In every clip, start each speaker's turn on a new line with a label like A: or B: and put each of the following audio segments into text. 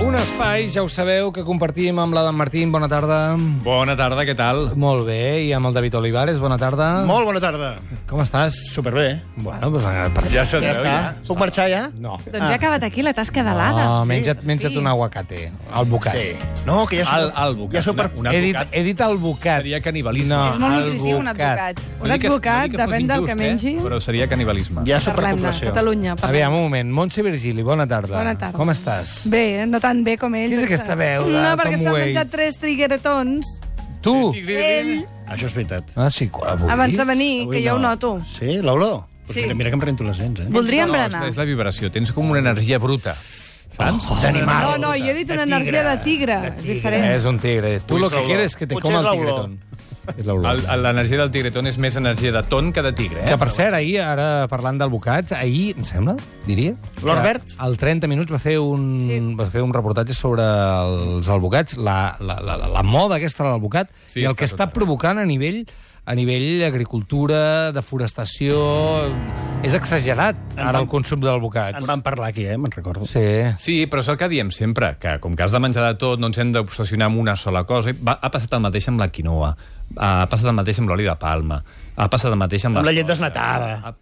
A: Un espai, ja ho sabeu, que compartim amb l'Adam Martín. Bona tarda.
B: Bona tarda, què tal?
A: Molt bé, i amb el David Olivares. Bona tarda.
C: Molt bona tarda.
A: Com estàs?
C: Superbé.
A: Bueno, doncs, eh, per...
B: Ja se
C: Ja
B: veu,
C: està.
B: ja.
C: Puc marxar ja?
A: No.
D: Doncs ja ha acabat aquí la tasca de l'Ada.
A: Ah, menja't, menja't
D: sí.
A: un aguacate. Al bocat.
C: Sí. No, que ja sóc...
B: Al, al bocat.
C: Ja sóc per...
B: Una,
A: He
B: un
A: dit,
B: advocat
A: he dit al bocat.
B: seria canibalisme.
A: No.
D: És molt
A: Al
D: nutritiu, un
A: bocat.
D: advocat.
B: No
E: Un
B: dic que- no
E: advocat,
B: dic que fos
E: depèn del
B: injust,
E: que mengi.
B: Eh? Però seria canibalisme.
C: Ja sóc per
E: Parlem-ne.
C: població.
E: Catalunya.
A: A veure, un moment. Montse Virgili, bona tarda.
E: Bona tarda.
A: Com estàs?
E: Bé, eh, no tan bé com ell.
A: Qui és
E: perquè-
A: aquesta veu de
E: No, perquè
A: Tom
E: s'ha
A: Waits?
E: menjat tres trigueretons
A: Tu?
E: Ell-
C: Això és veritat.
A: Ah, sí, avui.
E: abans de venir,
C: Avui
E: que jo ho
C: no.
E: noto.
C: Sí, l'olor.
E: Sí.
C: Sí. Mira, mira que em rento les dents, eh?
D: Voldria
B: No,
D: emberenar.
B: és, és la vibració. Tens com una energia bruta. Saps? Oh,
E: No, no, jo he dit una energia de tigre, és diferent.
A: És un tigre. Tu
B: Ui,
A: lo
B: és
A: que
B: l'olor.
A: quieres es que te
C: Potser
A: coma
C: és
A: el
C: l'olor.
A: tigretón. És l'olor.
B: L'energia del tigretón és més energia de ton que de tigre. Eh?
A: Que, per cert, ahir, ara parlant del Bocats, ahir, em sembla, diria...
C: L'Orbert?
A: que Al 30 minuts va fer un, sí. va fer un reportatge sobre els albocats, la, la, la, la moda aquesta de l'albocat, sí,
B: Sí,
A: i el
B: està
A: que
B: tot
A: està
B: arreu.
A: provocant a nivell a nivell agricultura, deforestació... És exagerat, ara,
C: van-
A: el consum del bocat.
C: En van parlar aquí, eh? Me'n recordo.
A: Sí.
B: Sí, però és el que diem sempre, que com que has de menjar de tot, no ens hem d'obsessionar amb una sola cosa. I Va, ha passat el mateix amb la quinoa, ha passat el mateix amb l'oli de palma, ha passat el mateix amb...
C: Amb
B: les
C: la llet
B: plantes,
C: desnatada.
B: ha-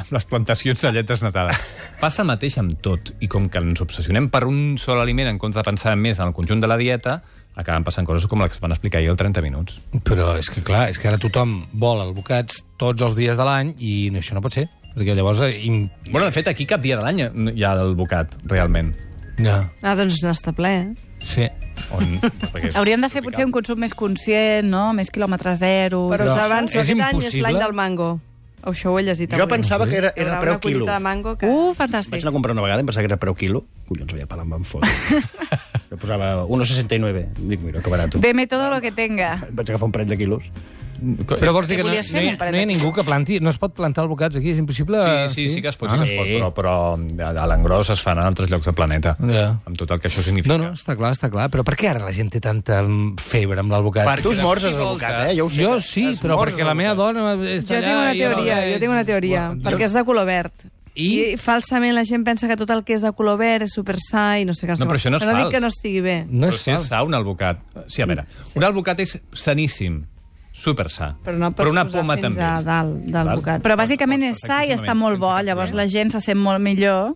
B: Amb les plantacions de llet desnatada. Passa el mateix amb tot, i com que ens obsessionem per un sol aliment en comptes de pensar més en el conjunt de la dieta, acaben passant coses com les que es van explicar ahir al 30 minuts.
A: Però és que, clar, és que ara tothom vol albocats tots els dies de l'any i això no pot ser, perquè llavors... eh, im-
B: Bueno, de fet, aquí cap dia de l'any hi ha el bocat, realment.
A: No.
E: Ah, doncs n'està ple, eh?
A: Sí.
B: On... perquè és
D: Hauríem de fer
B: tropical.
D: potser un consum més conscient, no? Més quilòmetre zero.
E: Però
A: No.
E: no. s'avança,
A: És
E: aquest any és
A: impossible.
E: l'any del mango. O això ho he llegit
C: Jo pensava que era,
E: Hi haurà
C: era preu
E: una
C: quilo.
E: collita de mango que...
D: Uh,
C: Vaig
D: fantàstic.
C: anar a comprar una vegada, em pensava que era preu quilo. Collons, havia palat, em van fotre. jo posava 1,69. Dic, mira, que barato.
D: Deme todo lo que tenga.
C: Vaig agafar un parell de quilos.
A: Però vols dir que
D: Què
A: no, no,
D: volies fer
A: hi,
D: amb un
A: ha-
D: paret
A: no hi ha
D: de-
A: ningú que planti... No es pot plantar albocats aquí, és impossible?
B: Sí, sí, sí que es
A: Ah,
B: pot, sí que es pot, però, però a a l'engròs es fan en altres llocs del planeta,
A: Ja.
B: amb tot el que això significa.
A: No, no, està clar, està clar. Però per què ara la gent té tanta mm, febre amb l'albocat?
B: Per-
C: Tu es morses
B: Volta.
C: abocat, eh? Jo ho sé.
A: Jo sí,
C: Es
A: però
C: morses
A: perquè la
C: al
A: meva
C: bocat.
A: dona...
E: Jo tinc una teoria, jo tinc una teoria, perquè és de color verd. I?
A: I?
E: falsament la gent pensa que tot el que és de color verd és super sa i no sé què.
B: No, però això no és
E: però
B: fals.
E: dic que no estigui bé.
A: No
B: Però
A: és
B: si és
A: fals.
B: sa, un albocat... Sí, a veure, un albocat és saníssim, super sa.
E: Però no pots
B: però una
E: posar
B: poma
E: fins
B: també.
E: a dalt del
B: Val?
E: bocat.
D: Però bàsicament és
B: Pots, pots,
D: sa i està molt bo,
B: sense
D: llavors
B: problema.
D: la gent se sent molt millor,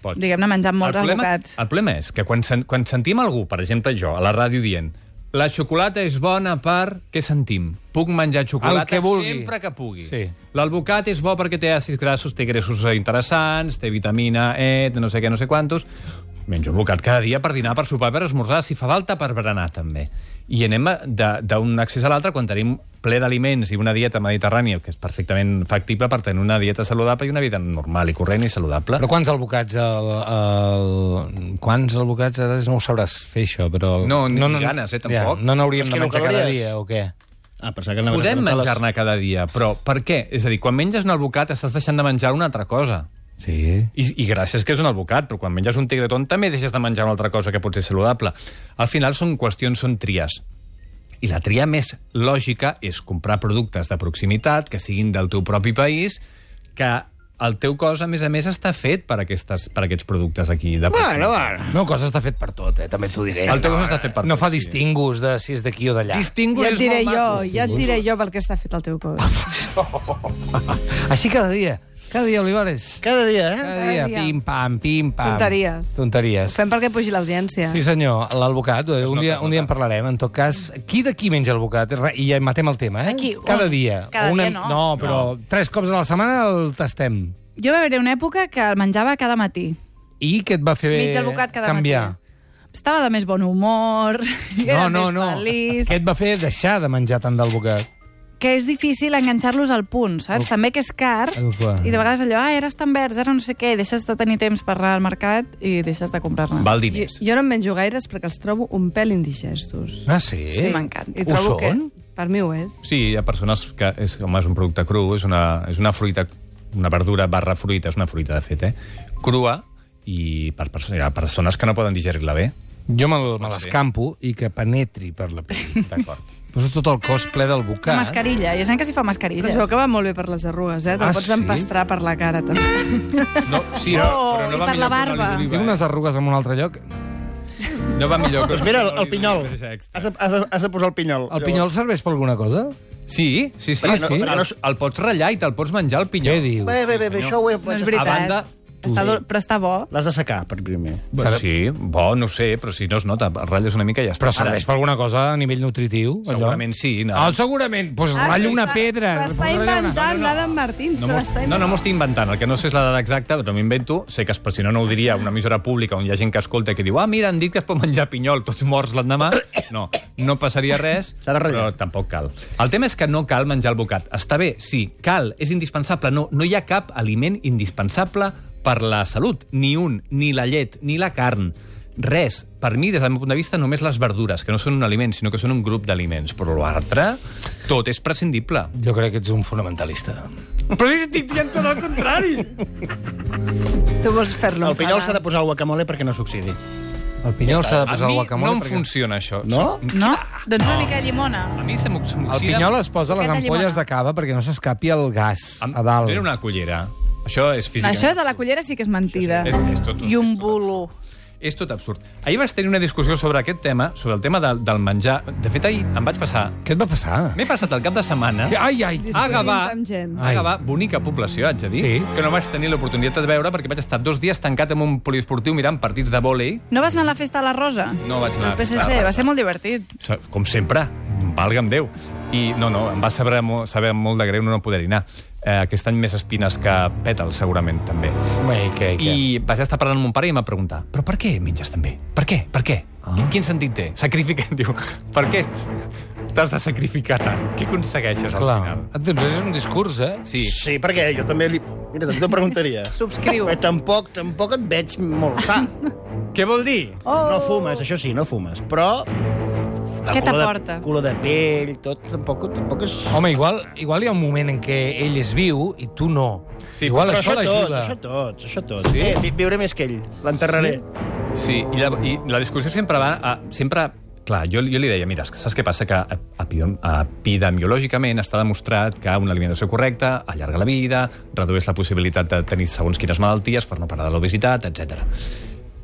B: Pots.
D: diguem-ne, menjant molts
B: el problema,
D: abocats.
B: el problema és que quan, sen, quan sentim algú, per exemple jo, a la ràdio dient la xocolata és bona per... Què sentim? Puc menjar xocolata
A: El que vulgui.
B: sempre que pugui.
A: Sí.
B: L'alvocat és bo perquè té àcids grassos, té greixos interessants, té vitamina E, té no sé què, no sé quantos... Menjo bocat cada dia per dinar, per sopar, per esmorzar, si fa falta per berenar també. I anem a- de- d'un accés a l'altre quan tenim ple d'aliments i una dieta mediterrània que és perfectament factible per tenir una dieta saludable i una vida normal i corrent i saludable.
A: Però quants albocats... El, el... Quants albocats ara no ho sabràs fer, això, però...
B: No, ni ganes, eh, tampoc.
A: Ja, no n'hauríem de
C: És que no
A: menjar cada
C: calories.
A: dia, o què?
C: Ah, pensava que anaves a
B: Podem
C: preguntar les-
B: menjar-ne cada dia, però per què? És a dir, quan menges un albocat estàs deixant de menjar una altra cosa.
A: Sí.
B: I, I gràcies que és un albocat, però quan menges un tigretón també deixes de menjar una altra cosa que pot ser saludable. Al final són qüestions, són tries. I la tria més lògica és comprar productes de proximitat que siguin del teu propi país, que el teu cos, a més a més, està fet per, aquestes, per aquests productes aquí de proximitat.
C: Bueno, bueno.
A: No, cosa està fet per tot, eh? També t'ho diré.
B: El teu cos està fet per
A: No
B: tot,
A: fa
B: sí.
A: distingus de si és d'aquí o d'allà.
B: Distingo
E: Ja et
B: és
E: diré
B: molt
E: jo,
B: maco.
E: ja et diré jo pel que està fet el teu cos.
A: Així cada dia. Cada dia, Olivares.
C: Cada dia, eh?
A: Cada
E: Cada
A: dia,
E: dia.
A: pim, pam, pim, pam.
E: Tonteries.
A: Tonteries.
E: Fem perquè pugi l'audiència.
A: Sí, senyor, l'alvocat, eh, un, dia, un dia en parlarem. En tot cas, qui de qui menja alvocat? Re, I ja matem el tema, eh?
D: Aquí,
A: Cada
D: un-
A: dia.
D: cada
A: O
D: dia no.
A: No, però no. tres cops a la setmana el tastem.
D: Jo va haver una època que el menjava cada matí.
A: I què et va fer
D: Mig albocat cada
A: canviar?
D: matí. Estava de més bon humor, era
A: No, no,
D: més
A: no.
D: feliç...
A: Què et va fer deixar de menjar tant d'alvocat?
D: que és difícil enganxar-los al punt, saps? També que és car,
A: El qual.
D: i de vegades allò, ah, eres tan verds, ara no sé què, i deixes de tenir temps per anar al mercat i deixes de comprar-ne.
B: Val
E: Jo,
B: diners.
E: jo no en menjo gaires perquè els trobo un pèl indigestos.
A: Ah, sí?
D: Sí, m'encanta.
E: I
A: Ho
E: trobo que,
A: són?
E: per mi ho és.
B: Sí, hi ha persones que és, home, és un producte cru, és una, és una fruita, una verdura barra fruita, és una fruita, de fet, eh? crua, i per persones, hi ha persones que no poden digerir-la bé.
A: Jo me, l- me l'escampo i que penetri per la pell.
B: D'acord.
A: Poso tot el cos ple
D: Una
A: d'alvocat.
D: mascarilla, hi ha gent que s'hi fa
E: Però
D: mascarilles.
E: es veu que va molt bé per les arrugues, eh? Te'l
A: Ah,
E: pots
A: sí?
E: empastrar per la cara, també.
B: No, sí,
D: Oh,
B: però no
D: i
B: va millor
D: per la
B: que
D: barba.
B: l'oli d'oliva,
A: Tinc unes
B: eh?
A: arrugues en un altre lloc.
B: No va millor. Que
C: Doncs mira, el, el pinyol. Has
B: Extra.
C: de, has, de, has de posar el pinyol.
A: El pinyol serveix per alguna cosa?
B: Sí, sí, sí.
A: Ah,
B: Ah,
A: sí?
B: sí? El, el pots ratllar i te'l pots menjar, el pinyol.
A: Què diu?
C: "Eh, Bé, bé, bé, bé, això ho he...
E: No és
B: A
E: veritat.
B: banda...
E: Està do... Però està bo.
C: L'has de secar, per primer.
B: Bueno, sí, bo, no ho sé, però si no es nota, ratlles una mica i ja està.
A: Però serveix per alguna cosa a nivell nutritiu? Allò?
B: Segurament sí, no.
A: Ah, segurament. Doncs pues, ratlla una pedra.
E: S'està
A: Pues, ratlla una-
E: inventant l'Adam Martín.
B: No m'ho no, no m'ho estic inventant, el que no sé és la dada exacta, però m'ho invento, sé que però si no no ho diria a una emissora pública on hi ha gent que escolta i que diu ah, mira, han dit que es pot menjar pinyol, tots morts l'endemà. No, no passaria res,
C: S'ha de ratllar.
B: però tampoc cal. El tema és que no cal menjar el bocat. Està bé, sí, cal, és indispensable. No, no hi ha cap aliment indispensable per la salut, ni un, ni la llet, ni la carn. Res. Per mi, des del meu punt de vista, només les verdures, que no són un aliment, sinó que són un grup d'aliments. Però l'altre, tot és prescindible.
A: Jo crec que ets un fonamentalista.
B: Però si estic dient tot el contrari!
E: Tu vols fer-lo
C: El pinyol s'ha de posar al guacamole perquè no s'oxidi.
A: El pinyol s'ha de
B: A
A: posar al
B: mi
A: guacamole.
B: no em
A: perquè-
B: funciona això.
C: No?
D: No? Doncs una mica de llimona.
B: A mi se m'ox-
A: El
B: m'oxida...
A: pinyol es posa a les
D: Aquesta
A: ampolles
D: llimona.
A: de cava perquè no s'escapi el gas
B: Em-
A: a dalt.
B: Era una cullera. Això és física.
E: Això de la cullera sí que és mentida.
B: És, és tot,
D: I un
B: és tot
D: bolo.
B: absurd. És tot absurd. Ahir vaig tenir una discussió sobre aquest tema, sobre el tema del, del menjar. De fet, ahir em vaig passar...
A: Què et va passar?
B: M'he passat el cap de setmana
A: Ai, ai.
E: Discutint
B: a Gavà,
E: amb gent.
B: a Gavà, bonica població, haig de dir,
A: Sí.
B: que no vaig tenir l'oportunitat de veure perquè vaig estar dos dies tancat en un poliesportiu mirant partits de vòlei.
D: No vas anar a la festa de la Rosa?
B: No vaig anar a la
D: Al
B: festa de la
D: PSC, va
B: Rosa.
D: ser molt divertit.
B: Sa- com sempre, valga'm Déu. I no, no, em va saber, mo- saber molt de greu no poder anar. Eh, aquest any més espines que pètals, segurament, també.
A: Bé, què, què?
B: I vaig estar parlant amb mon pare i em va preguntar però per què menges també? Per què? Per què? Ah. Quin sentit té? Sacrifica, diu. Per què t'has de sacrificar tant? Què aconsegueixes al
A: Clar.
B: final?
A: Et dius, és un discurs, eh?
B: Sí.
C: Sí, perquè jo també li... Mira, també t'ho preguntaria.
D: Subscriu.
C: Eh, tampoc, tampoc et veig molt sa.
B: Què vol dir?
D: Oh.
C: No fumes, això sí, no fumes. Però... la
D: Què
C: color de-
D: t'aporta?
C: Color de pell, tot, tampoc, tampoc és...
A: Home, igual, igual hi ha un moment en què ell és viu i tu no.
B: Sí,
A: igual
C: Però
A: això
C: això tots,
A: l'ajuda.
C: això tots, això tots. Sí? Eh, vi- viuré més que ell, l'enterraré. Sí?
B: Sí, i la, i la discussió sempre va... A, sempre, clar, jo, jo li deia, mira, és que saps què passa? Que epidem- epidemiològicament està demostrat que una alimentació correcta allarga la vida, redueix la possibilitat de tenir segons quines malalties per no parlar de l'obesitat, etc.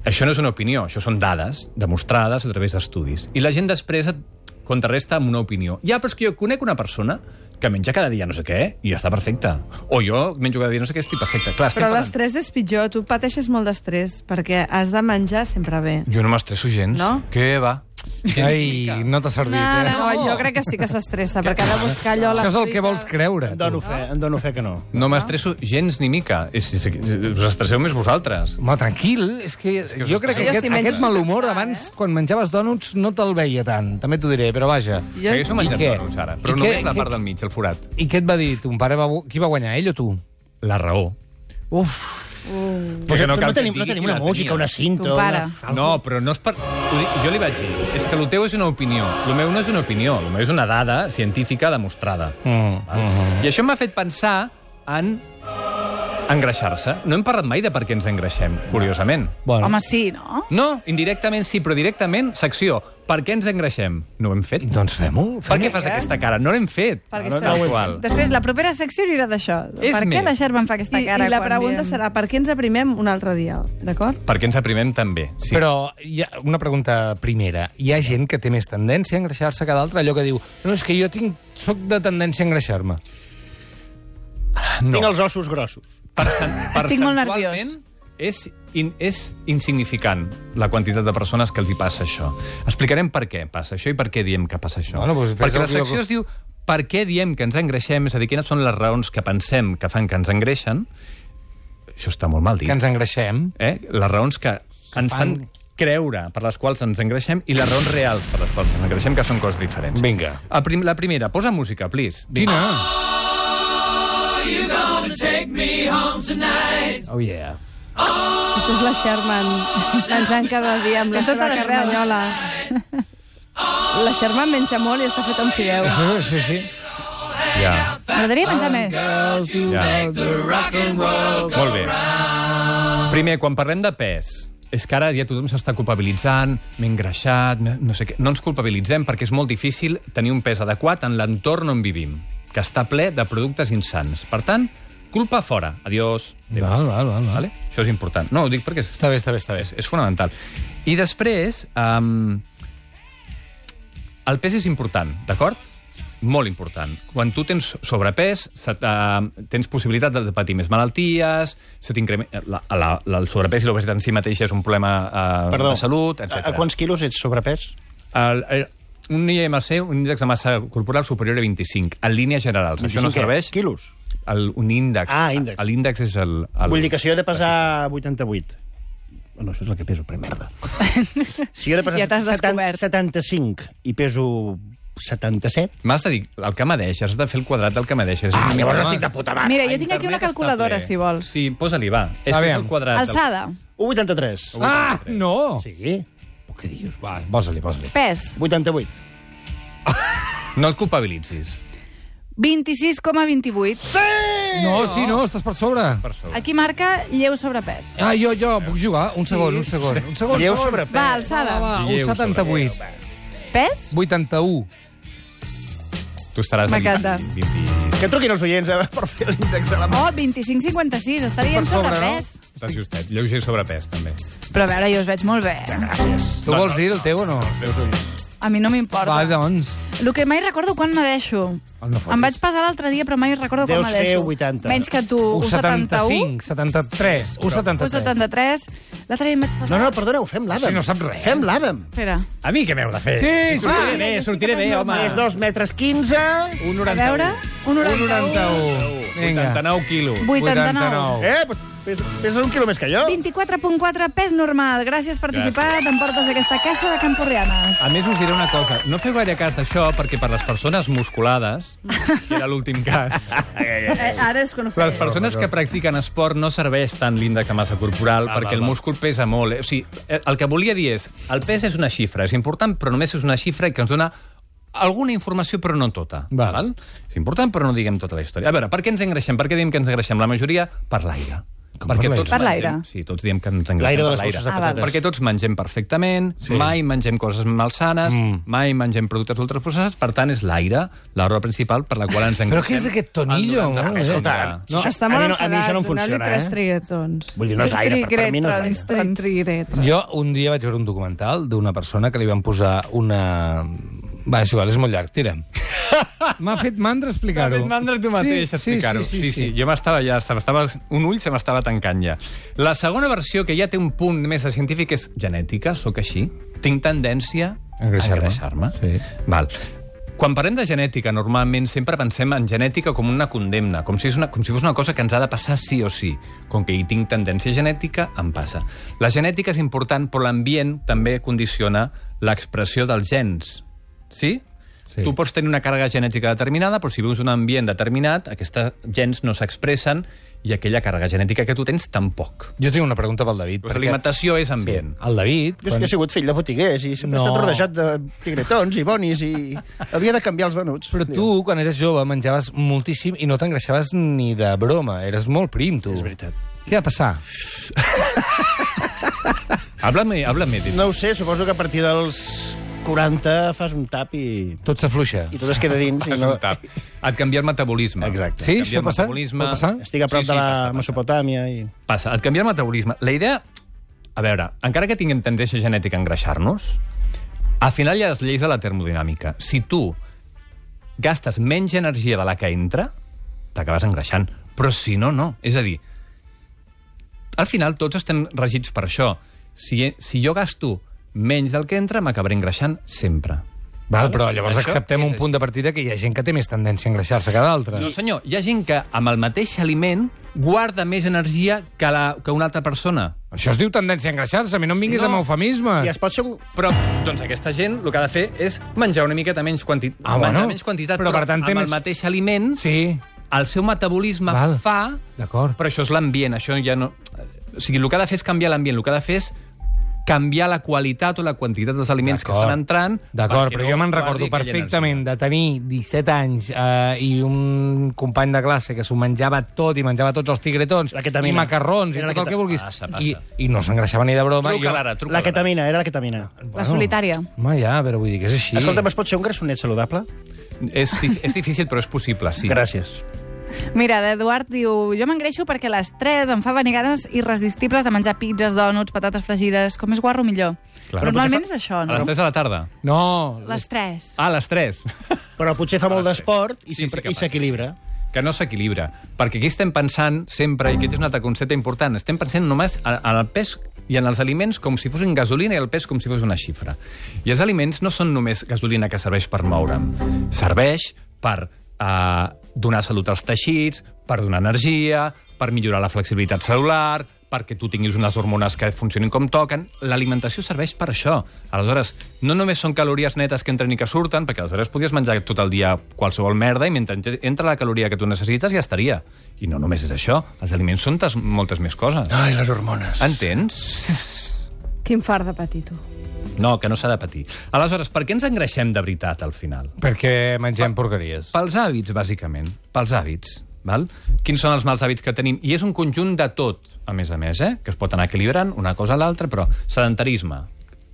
B: Això no és una opinió, això són dades demostrades a través d'estudis. I la gent després et contrarresta amb una opinió. Ja, però és que jo conec una persona que menja cada dia no sé què i està perfecta. O jo menjo cada dia no sé què i estic perfecte. Clar, estic
E: Però
B: parlant-
E: l'estrès és pitjor. Tu pateixes molt d'estrès perquè has de menjar sempre bé.
B: Jo no m'estresso gens.
E: No?
B: Què va?
A: Ai, no t'ha servit,
D: No,
A: eh?
D: no.
E: No, jo crec que sí que s'estressa, perquè ha de buscar allò...
A: Això
E: les
A: és el que
E: fruites.
A: vols creure. tu.
C: Em dono fe, em dono fe que no.
B: No m'estresso gens ni mica. És, és, és, us estresseu més vosaltres.
A: Home, tranquil, és que,
B: que us
A: jo crec que
E: Jo
A: aquest,
E: sí menjo
A: aquest mal humor
E: sense sal,
A: abans, quan menjaves dònuts, no te'l veia tant, també t'ho diré, però vaja.
B: Jo... Segueixo menjant
A: què?
B: dònuts ara, però
A: I
B: només
A: què-
B: la
A: què-
B: part del mig, el forat.
A: I què et va dir? Ton pare va... Qui va guanyar, ell o tu?
B: La raó.
A: Uf,
B: Però que no cal que
C: tenim,
B: et
C: no
B: digui
C: tenim
B: qui
C: una
B: la
C: música,
B: tenia.
C: una cinta...
D: Ton pare.
C: Una...
B: No, però no és per... Ho dic- Jo li vaig dir, és que el teu és una opinió. El meu no és una opinió, el meu és una dada científica demostrada.
A: Mm,
B: I això m'ha fet pensar en engreixar-se. No hem parlat mai de per què ens engreixem, curiosament.
A: bueno.
D: Home, sí, no?
B: No, indirectament sí, però directament, secció, per què ens engreixem? No ho hem fet?
A: Doncs fem-ho.
B: Per
A: fem-ho.
B: què fas aquesta cara? No l'hem fet.
E: Perquè
B: no,
E: està-
B: no, igual.
D: Després, la propera secció anirà d'això.
B: És
D: Per què
B: més.
D: la Xerba em fa aquesta
E: I,
D: cara?
E: I la
D: quan
E: pregunta
D: diem-
E: serà per què ens aprimem un altre dia, d'acord?
B: Perquè ens aprimem també. Sí.
A: Però hi ha una pregunta primera. Hi ha gent que té més tendència a engreixar-se que d'altra, allò que diu, no, és que jo tinc, soc de tendència a engreixar-me.
B: no. Doncs
C: Tinc els ossos grossos.
B: Percent,
D: Estic molt
B: percentualment
D: nerviós.
B: És, in, és insignificant la quantitat de persones que els hi passa això. Explicarem per què passa això i per què diem que passa això.
A: Bueno, doncs fes
B: Perquè
A: el
B: la secció
A: guió.
B: es diu per què diem que ens engreixem, és a dir, quines són les raons que pensem que fan que ens engreixen. Això està molt mal dit.
A: Que ens engreixem.
B: eh? les raons que ens fan creure per les quals ens engreixem i les raons reals per les quals ens engreixem, que són coses diferents.
A: Vinga.
B: El prim, la primera, posa música, please.
A: Quina? Oh, yeah.
E: Això és la Sherman, menjant cada dia amb la
D: Que tot
E: seva
D: arreu.
E: carmanyola. La Sherman menja molt i està feta amb fideu.
A: Sí, sí.
B: Ja,
D: M'agradaria menjar més.
B: ja. Molt bé. Primer, quan parlem de pes, és que ara ja tothom s'està culpabilitzant, m'he engreixat, m'he- no sé què... No ens culpabilitzem perquè és molt difícil tenir un pes adequat en l'entorn on vivim, que està ple de productes insans. Per tant, Culpa fora. Adiós. Adéu.
A: Val, val, val, val.
B: Vale? Això és important. No, ho dic perquè és,
A: Està bé, està bé, està bé.
B: és, és fonamental. I després, um, el pes és important, d'acord? Molt important. Quan tu tens sobrepes, se, uh, tens possibilitat de, de patir més malalties, se t'increme- la, la, la, el sobrepes i l'obesitat en si mateixa és un problema uh, de salut, etc.
C: a, a quants quilos ets sobrepès?
B: El, el, un IMC, un índex de massa corporal superior a 25, en línies generals. Això no
C: 25 què?
B: serveix.
C: Quilos.
B: El, un índex.
C: Ah, índex.
B: L'índex és el... el
C: Vull dir que si jo he de pesar 88... Bueno, això és el que peso, per merda. Si jo he de pesar
D: Ja t'has
C: 70,
D: descobert.
C: 75 i peso 77...
B: M'has de dir, el que medeixes, has de fer el quadrat del que medeixes. És
C: Ah,
B: una
C: llavors
B: mica-
C: estic de puta mare.
D: Mira, Eh, jo tinc
B: Ah, Internet
D: aquí una
B: està Ah,
D: calculadora,
B: ple.
D: si vols.
B: Sí, posa-li, va. És que és
A: Aviam.
B: el quadrat. del-
D: Alçada,
C: 1,83.
A: Ah, no!
C: Sí.
B: Oh,
C: Però què dius?
A: Va, posa-li, posa-li.
D: pes,
C: 88.
B: No el culpabilitzis.
D: 26,28.
A: No, sí, no, estàs per sobre.
B: Per sobre.
D: Aquí marca lleu sobrepes.
A: Ah, jo, jo, puc jugar? Un segon, un segon. Un segon,
C: Lleu
A: un segon.
C: sobrepes.
D: Va,
A: Va,
D: alçada.
A: va, un
B: Lleu
A: 78.
D: Pes?
A: 81.
B: Tu estaràs... en
D: M'encanta.
B: 20...
C: Que truquin els oients eh, per fer l'índex de la mà.
D: Oh, 25,56. Està dient
A: Per sobre,
D: sobrepes.
B: Estàs justet. Lleuger sobrepès, també.
D: Però a veure, jo us veig molt bé.
A: Tu vols dir el teu o no?
D: A mi no m'importa.
A: Va, doncs.
D: El que mai recordo quan medeixo.
A: Ah, no fotis.
D: em vaig pesar l'altre dia, però mai recordo quan
C: Deus fer
D: medeixo.
C: 80.
D: Menys que tu, 1,71.
A: 75, 73, 1,73.
D: 1,73. L'altre dia em vaig
C: No,
D: pesar...
C: no, perdoneu, fem l'Àdam.
A: Si no sap res.
C: Fem l'Àdam.
D: Espera.
B: A mi què m'heu de fer?
A: Sí,
B: Sortiré
A: sí.
B: bé, Ah, sortiré bé, home.
C: És 2 metres 15...
B: Un
D: A veure... 1,91.
A: 91. Vinga.
B: 89 quilos. Oh.
D: 89.
C: Eh, pues, pesa, pesa un quilo més que jo.
D: 24,4 pes normal. Gràcies per
B: Gràcies.
D: participar. T'emportes aquesta caixa de Camporrianes.
B: A més, us diré una cosa. No feu gaire cas d'això, perquè per les persones musculades, que era l'últim cas,
E: Eh, ara és quan ho
B: les
E: faré.
B: persones que practiquen esport no serveix tant l'índex de massa corporal,
C: Va,
B: perquè
C: va,
B: el
C: va.
B: múscul pesa molt. eh? O sigui, eh, el que volia dir és, el pes és una xifra, és important, però només és una xifra que ens dona alguna informació, però no tota.
A: Va.
B: Val? És important, però no diguem tota la història. A veure, per què ens engreixem? Per què diem que ens engreixem? La majoria, per l'aire.
A: Com
B: Perquè
A: per l'aire?
B: tots
D: Per
B: mengem-
D: l'aire.
B: Sí, tots diem que ens engreixem
C: L'aire de
B: per
C: les bolses de
D: Ah, val.
C: patates.
B: perquè tots mengem perfectament, sí. mai mengem coses malsanes, mm. mai mengem productes ultraprocessats, per tant, és l'aire, l'obra principal per la qual ens engreixem.
A: Però què és aquest tonillo?
B: El 90%.
C: Escolta,
B: no,
C: no,
E: Està
C: a
E: molt
C: mi no- a mi això no em
E: enfadat, doneu-li
C: funciona,
E: tres
C: eh?
E: triguetrons.
C: Vull dir, no és l'aire, per- per mi no és l'aire.
E: Triguetrons, tri- triguetrons.
A: Jo un dia vaig veure un documental d'una persona que li van posar una... Va, és igual, és molt llarg, tira'm. M'ha fet mandra explicar-ho.
B: T'ha fet mandra tu mateix
A: sí,
B: explicar-ho.
A: Sí, sí, sí. sí, sí.
B: Jo m'estava ja, se m'estava, un ull se m'estava tancant ja. La segona versió, que ja té un punt més de científic, és genètica, sóc així, tinc tendència a
A: Engreixar-me.
B: engreixar-me.
A: Sí.
B: Val. Quan parlem de genètica, normalment sempre pensem en genètica com una condemna, com si, és una, com si fos una cosa que ens ha de passar sí o sí. Com que hi tinc tendència genètica, em passa. La genètica és important, però l'ambient també condiciona l'expressió dels gens. Sí?
A: Sí.
B: sí? Tu pots tenir una càrrega genètica determinada, però si vius en un ambient determinat, aquestes gens no s'expressen i aquella càrrega genètica que tu tens tampoc.
A: Jo tinc una pregunta pel David.
B: Perquè... L'alimentació és ambient.
A: El David...
C: Jo és que he sigut fill de botiguers i sempre
A: No.
C: he estat rodejat de tigretons i bonis i havia de canviar els venuts.
A: Però tu, quan eres jove, menjaves moltíssim i no t'engreixaves ni de broma. Eres molt prim, tu.
C: És veritat.
A: Què va passar?
B: Sí. Habla-me, habla-me. Dit.
C: No ho sé, suposo que a partir dels 40 fas un tap i,
A: Tot s'afluixa.
C: i tot es queda dins. I
B: Has
C: no...
B: notat. Et canvia el metabolisme.
C: Exacte.
A: Sí? Això
B: Et canvia
A: ha
B: el
A: passat?
B: metabolisme.
A: Pot passar?
C: Estic a prop
B: Sí,
C: de
B: sí,
C: la
B: passa, passa.
C: Mesopotàmia i...
B: Passa, et canvia el metabolisme. La idea... A veure, encara que tinguem tendència genètica a engreixar-nos, al final hi ha les lleis de la termodinàmica. Si tu gastes menys energia de la que entra, t'acabes engreixant. Però si no, no. És a dir, al final tots estem regits per això. Si, si jo gasto menys del que entra, m'acabaré engreixant sempre.
A: Val, però llavors
B: Això
A: acceptem
B: és
A: un
B: així.
A: punt de partida que hi ha gent que té més tendència a engreixar-se que d'altra.
B: No, senyor, hi ha gent que amb el mateix aliment guarda més energia que, la, que una altra persona.
A: Això es diu tendència a engreixar-se. A mi no em vinguis
B: No.
A: amb eufemismes.
C: I es pot ser un...
B: Però, doncs, aquesta gent el que ha de fer és menjar una miqueta menys quantitat.
A: Ah, bueno.
B: menjar menys quantitat,
A: Però,
B: però,
A: per tant, té
B: amb
A: més-
B: el mateix aliment, sí.
A: Sí,
B: el seu metabolisme
A: Val.
B: fa...
A: d'acord.
B: Però això és l'ambient, això ja no... O sigui, el que ha de fer és canviar l'ambient, el que ha de fer és canviar la qualitat o la quantitat dels aliments que
A: D'acord.
B: estan entrant...
A: D'acord,
B: perquè
A: però
B: no
A: jo me'n
B: guardi
A: recordo
B: aquella
A: perfectament de tenir 17 anys eh, i un company de classe que s'ho menjava tot i menjava tots els tigretons
C: La
A: i
C: ketamina.
A: macarrons i
C: Era la
A: tot el que
C: ketamina.
A: vulguis.
B: Passa,
A: I,
B: passa.
A: I no s'engreixava ni de broma.
B: Truca'l ara, truca'l
C: La
B: ara.
C: ketamina, era la ketamina.
D: La solitària.
A: Home, ja, però vull dir que és així.
C: Escolta'm, es pot ser un grassonet saludable?
B: És, di- és difícil, però és possible, sí.
C: Gràcies.
D: Mira, l'Eduard diu... Jo m'engreixo perquè a les 3 em fa venir ganes irresistibles de menjar pizzas, dònuts, patates fregides... Com més guarro, millor. Clar,
B: potser
D: Normalment
B: fa-
D: és això,
B: A
D: no?
B: les 3 de la tarda.
A: No,
D: Les 3.
B: Ah, a les 3.
C: Però potser fa molt d'esport i
B: Sí, sí
C: sempre-
B: que
C: i
B: passa,
C: s'equilibra.
B: que no s'equilibra. Perquè aquí estem pensant sempre, i aquest és un altre concepte important, estem pensant només en en el pes i en els aliments com si fossin gasolina i el pes com si fos una xifra. I els aliments no són només gasolina que serveix per moure'm. Serveix per eh, donar salut als teixits, per donar energia, per millorar la flexibilitat celular, perquè tu tinguis unes hormones que funcionin com toquen. L'alimentació serveix per això. Aleshores, no només són calories netes que entren i que surten, perquè aleshores podries menjar tot el dia qualsevol merda i mentre ent- entra la caloria que tu necessites ja estaria. I no només és això. Els aliments són tas- moltes més coses.
C: Ai, les hormones.
B: Entens?
E: Quin fart de patito.
B: No, que no s'ha de patir. Aleshores, per què ens engreixem de veritat al final?
A: perquè mengem porqueries.
B: Pels hàbits, bàsicament. Pels hàbits. Val? Quins són els mals hàbits que tenim? I és un conjunt de tot, a més a més, eh? que es pot anar equilibrant una cosa a l'altra, però sedentarisme,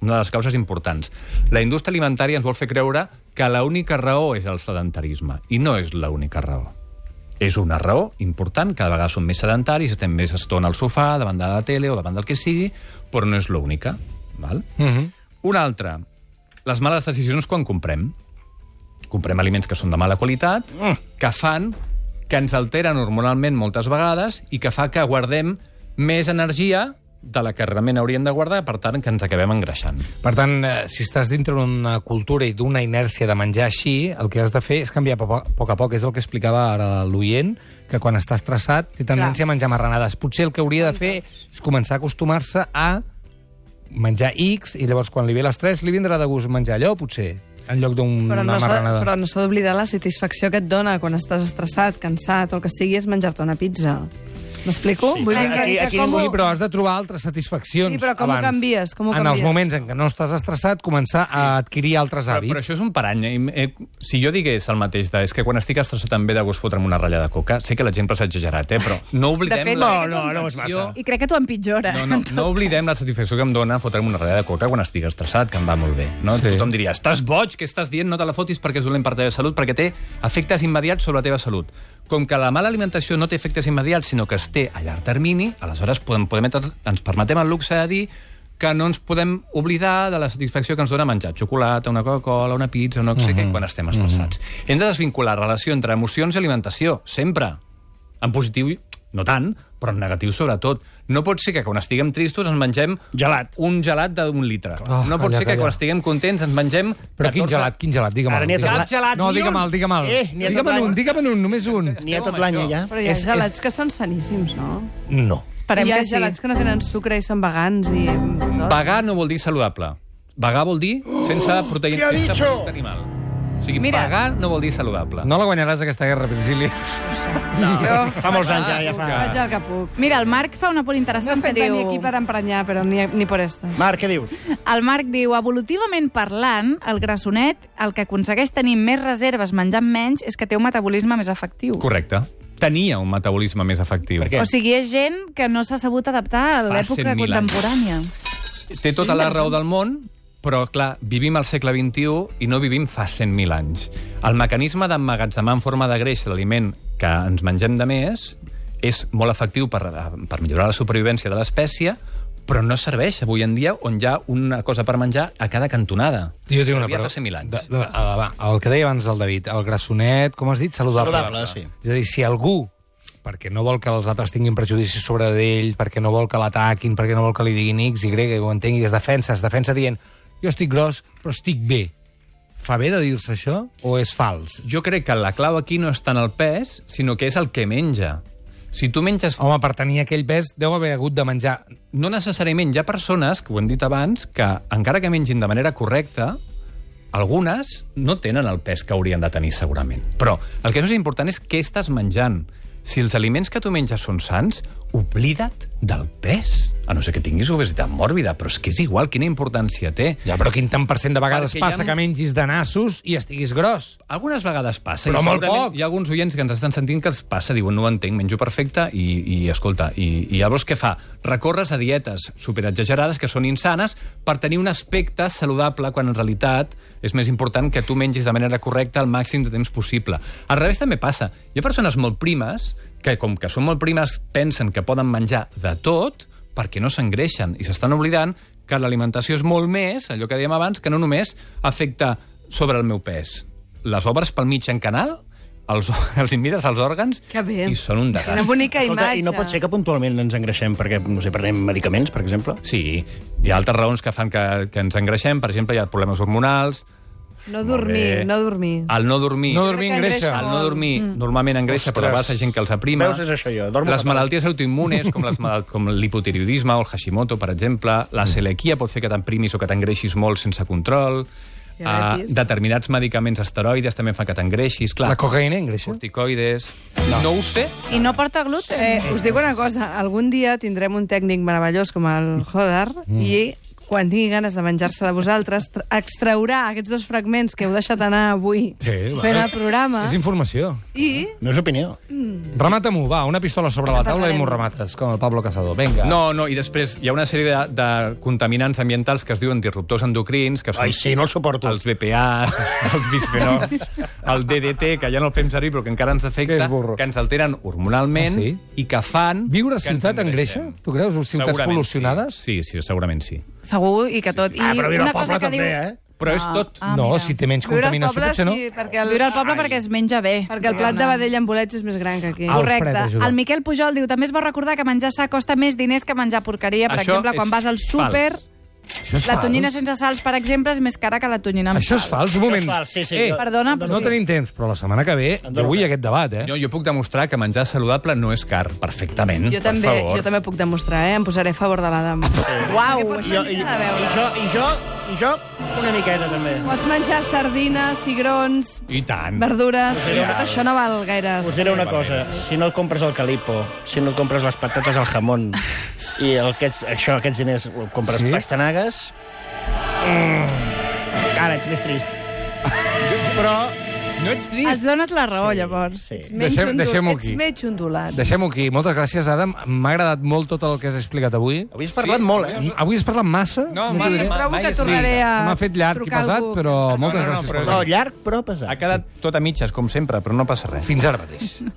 B: una de les causes importants. La indústria alimentària ens vol fer creure que l'única raó és el sedentarisme, i no és l'única raó. És una raó important, cada vegada som més sedentaris, estem més estona al sofà, davant de la tele o davant del que sigui, però no és l'única. Val?
A: Mm -hmm.
B: Una altra, les males decisions quan comprem. Comprem aliments que són de mala qualitat, que fan que ens alteren hormonalment moltes vegades i que fa que guardem més energia de la que realment hauríem de guardar, per tant, que ens acabem engreixant.
A: Per tant, eh, si estàs dintre d'una cultura i d'una inèrcia de menjar així, el que has de fer és canviar a po- poc a poc. És el que explicava ara l'oient, que quan està estressat té tendència a menjar marranades. Potser el que hauria de fer és començar a acostumar-se a menjar X i llavors quan li ve l'estrès li vindrà de gust menjar allò, potser, en lloc d'una
F: Però no, s'ha,
A: marranada.
F: però no s'ha d'oblidar la satisfacció que et dona quan estàs estressat, cansat o el que sigui és menjar-te una pizza. M'explico? Sí, Vull dir que,
C: aquí-
F: que
C: aquí
F: com...
A: Sí, però has de trobar altres satisfaccions
F: Sí, però com ho
A: abans.
F: canvies? Com ho
A: En els
F: canvies?
A: moments en què no estàs estressat, començar a adquirir altres
B: Però,
A: hàbits.
B: però això és un parany. Eh, eh, si jo digués el mateix, de, és que quan estic estressat també de gust fotre'm una ratlla de coca, sé que l'exemple s'ha exagerat, eh, però no oblidem...
D: fet,
B: la...
C: no, no, no és massa.
D: I crec que t'ho empitjora.
B: No, no, no oblidem la satisfacció que em dona fotre'm una ratlla de coca quan estic estressat, que em va molt bé. No?
A: Sí.
B: Sí. Tothom diria, estàs boig, què estàs dient? No te la fotis perquè és dolent per la teva salut, perquè té efectes immediats sobre la teva salut. Com que la mala alimentació no té efectes immediats, sinó que es té a llarg termini, aleshores podem, podem, ens permetem el luxe de dir que no ens podem oblidar de la satisfacció que ens dona menjar xocolata, una Coca-Cola, una pizza, no sé què, quan estem estressats. Hem de desvincular la relació entre emocions i alimentació, sempre. En positiu, no tant, però en negatiu sobretot. No pot ser que quan estiguem tristos ens mengem...
C: Gelat.
B: Un gelat d'un litre.
A: Oh,
B: no pot
A: calla,
B: ser que
A: calla.
B: quan estiguem contents ens mengem...
A: Però quin gelat, quin gelat? Digue'm
C: Ara n'hi ha
A: digue'm el.
C: tot l'any.
B: Cap gelat,
A: No,
B: ni
A: digue'm
B: un.
A: el, digue'm el.
C: Eh, n'hi ha tot
A: digue'm
C: l'any.
A: un, digue'm un, només un.
C: N'hi ha
B: Esteu
C: tot
B: amb
C: l'any,
B: això.
C: ja.
F: Però hi ha
A: És-
F: gelats que són saníssims, no?
A: No.
D: Esperem
F: hi ha
D: que sí.
F: gelats que no tenen sucre i són vegans i...
B: Vegà no vol dir saludable. Vegà vol dir sense proteïna, sense producte animal. O sigui,
D: Mira.
B: vegà no vol dir saludable.
A: No la guanyaràs aquesta guerra, Virgili.
C: Fa molts anys, ja, ja fa.
F: Faig el que puc.
D: Mira, el Marc fa un apunt
F: No
D: interessant
F: em
D: que
F: fet venir
D: diu...
F: aquí per emprenyar, però ni, ni por esto.
C: Marc, què dius?
D: El Marc diu, evolutivament parlant, el grassonet el que aconsegueix tenir més reserves menjant menys és que té un metabolisme més efectiu.
B: Correcte. Tenia un metabolisme més efectiu.
C: Per què?
D: O sigui, és gent que no s'ha sabut adaptar a
B: Fa 100.000
D: l'època
B: anys.
D: contemporània.
B: Té tota la raó del món, però, clar, vivim al segle XXI i no vivim fa 100.000 anys. El mecanisme d'emmagatzemar en forma de greix l'aliment que ens mengem de més és molt efectiu per, eh, per millorar la supervivència de l'espècie, però no serveix avui en dia on hi ha una cosa per menjar a cada cantonada.
A: Jo tinc una
B: Servia
A: pregunta.
B: Fa 100.000 anys.
A: De, de, a la, va, el que deia abans el David, el grassonet, com has dit? Saludable.
C: Saludable, sí.
A: És a dir, si algú, perquè no vol que els altres tinguin prejudicis sobre d'ell, perquè no vol que l'ataquin, perquè no vol que li diguin X, Y, que ho entengui, es defensa, es defensa dient jo estic gros, però estic bé. Fa bé de dir-se això o és fals?
B: Jo crec que la clau aquí no és tant el pes, sinó que és el que menja. Si tu menges
A: Home, per tenir aquell pes deu haver hagut de menjar
B: no necessàriament hi ha persones, que ho hem dit abans, que encara que mengin de manera correcta, algunes no tenen el pes que haurien de tenir segurament. Però el que és més important és què estàs menjant. Si els aliments que tu menges són sants, oblida't del pes. A no ser que tinguis obesitat mòrbida, però és que és igual quina importància té.
A: Ja, però quin tant per cent de vegades
B: Perquè hi ha-
A: passa que mengis de nassos i estiguis gros?
B: Algunes vegades passa. i
A: Però molt
B: segurament
A: poc.
B: Hi ha alguns oients que ens estan sentint que els passa, diuen, no ho entenc, menjo perfecte, i, i escolta, i, i llavors què fa? Recorres a dietes superexagerades, que són insanes, per tenir un aspecte saludable, quan en realitat és més important que tu mengis de manera correcta el màxim de temps possible. Al revés també passa. Hi ha persones molt primes, que com que són molt primes pensen que poden menjar de tot, perquè no s'engreixen i s'estan oblidant que l'alimentació és molt més, allò que dèiem abans, que no només afecta sobre el meu pes. Les obres pel mig en canal, els, els hi mires als òrgans
F: Que bé.
B: i són un
F: Quina
B: desastre.
F: bonica
C: Escolta,
F: imatge.
C: I no pot ser que puntualment ens engreixem perquè, no sé, prenem medicaments, per exemple?
B: Sí, hi ha altres raons que fan que, que ens engreixem. Per exemple, hi ha problemes hormonals.
F: No
B: Molt
F: dormir,
B: bé.
F: no dormir.
B: El no dormir.
A: No dormir engreixa.
B: El no dormir mm. normalment engreixa, però
A: Ostres.
B: vas a gent que els aprima.
C: Veus, és això jo, dormo
B: les
C: fatal.
B: malalties autoimmunes, com, les mal com l'hipotiroidisme o el Hashimoto, per exemple, la celiaquia pot fer que t'emprimis o que t'engreixis molt sense control. Uh,
F: Diabetis.
B: determinats medicaments esteroides també fan que t'engreixis, clar.
A: La cocaïna engreixa?
B: corticoides... No. no ho sé,
D: I no porta gluten?
F: Eh, us dic una cosa, algun dia tindrem un tècnic meravellós com el Hodar mm. i quan tingui ganes de menjar-se de vosaltres, tra- extraurà aquests dos fragments que heu deixat anar avui
A: Sí, va.
F: fent el programa
A: És informació.
F: i
C: No és opinió.
A: Remata-m'ho, va, una pistola sobre la taula i m'ho remates, com el Pablo Casado. Vinga.
B: No, no, i després hi ha una sèrie de, de contaminants ambientals que es diuen disruptors endocrins, que són
C: Ai, sí, no el suporto.
B: els BPAs, els bisfenols, el DDT, que ja no el fem servir però que encara ens
A: Que
B: afecta,
A: és burro.
B: que ens alteren hormonalment
A: Ah, sí?
B: i que fan...
A: Viure a
B: que ens
A: ciutat engreixa?
B: engreixem.
A: Tu creus? O ciutats
B: Segurament
A: pol·lucionades?
B: Sí. sí, sí, segurament sí.
D: Segur, i que tot.
C: Ah, però viure
D: I
C: al
D: una cosa
C: poble
D: que
C: també,
D: diu...
C: eh?
B: Però és tot...
D: Ah,
A: no
D: mira.
A: si té menys
F: viure al
A: contaminació,
F: poble,
A: potser no.
F: sí, perquè el,
D: Viure al poble perquè es menja bé.
F: perquè el plat de vedella amb bolets és més gran que aquí.
A: Au.
D: Correcte.
A: Alfred, ajuda.
D: El Miquel Pujol diu també es va recordar que menjar sa costa més diners que menjar porqueria. Per
B: Això
D: exemple, quan
B: és
D: vas al súper,
B: fals.
D: la tonyina sense sals, per exemple, és més cara que la tonyina amb
A: Això és fals, un moment.
C: Això és fals, sí, sí,
A: eh,
C: jo-
D: Perdona,
A: no
D: però sí.
A: tenim temps, però la setmana que ve
C: Em
A: jo
C: dono
A: vull
C: fe.
A: aquest debat, eh?
B: Jo, jo puc demostrar que menjar saludable no és car, perfectament.
F: Jo també,
B: per favor.
F: jo també puc demostrar, eh? Em posaré a favor de la dama. Uau!
C: I jo, i, i jo, i jo, i jo, una miqueta, també.
F: Pots menjar sardines, cigrons,
B: I tant.
F: verdures, tot això no val gaire.
C: Us diré una cosa, si no et compres el calipo, si no et compres les patates al jamón, i el, aquests, això, aquests diners ho compres
A: Sí?
C: sí? pastanagues... Mm, cara, ets més trist. Però...
B: No ets
D: Es
B: trist?
D: dones la raó, sí, llavors.
C: Sí.
F: Menys
A: Deixem-
F: ondul-
A: deixem-ho
F: ets
A: aquí.
F: menys ondulat.
A: Deixem-ho aquí. Moltes gràcies, Adam. M'ha agradat molt tot el que has explicat avui.
C: Avui has parlat sí? molt, eh?
A: Avui has parlat massa.
B: No,
A: Sí.
B: massa,
A: Se
B: massa.
F: Trobo
B: mai
F: que
B: és
F: tornaré a
A: M'ha fet llarg i
F: trucar
A: pesat,
F: algú.
A: però moltes
B: no, no,
A: gràcies.
B: però-
A: per
C: No,
F: Ah,
A: venir.
C: llarg, però pesat.
B: Ha quedat tot a mitges, com sempre, però no passa res.
A: Fins ara mateix.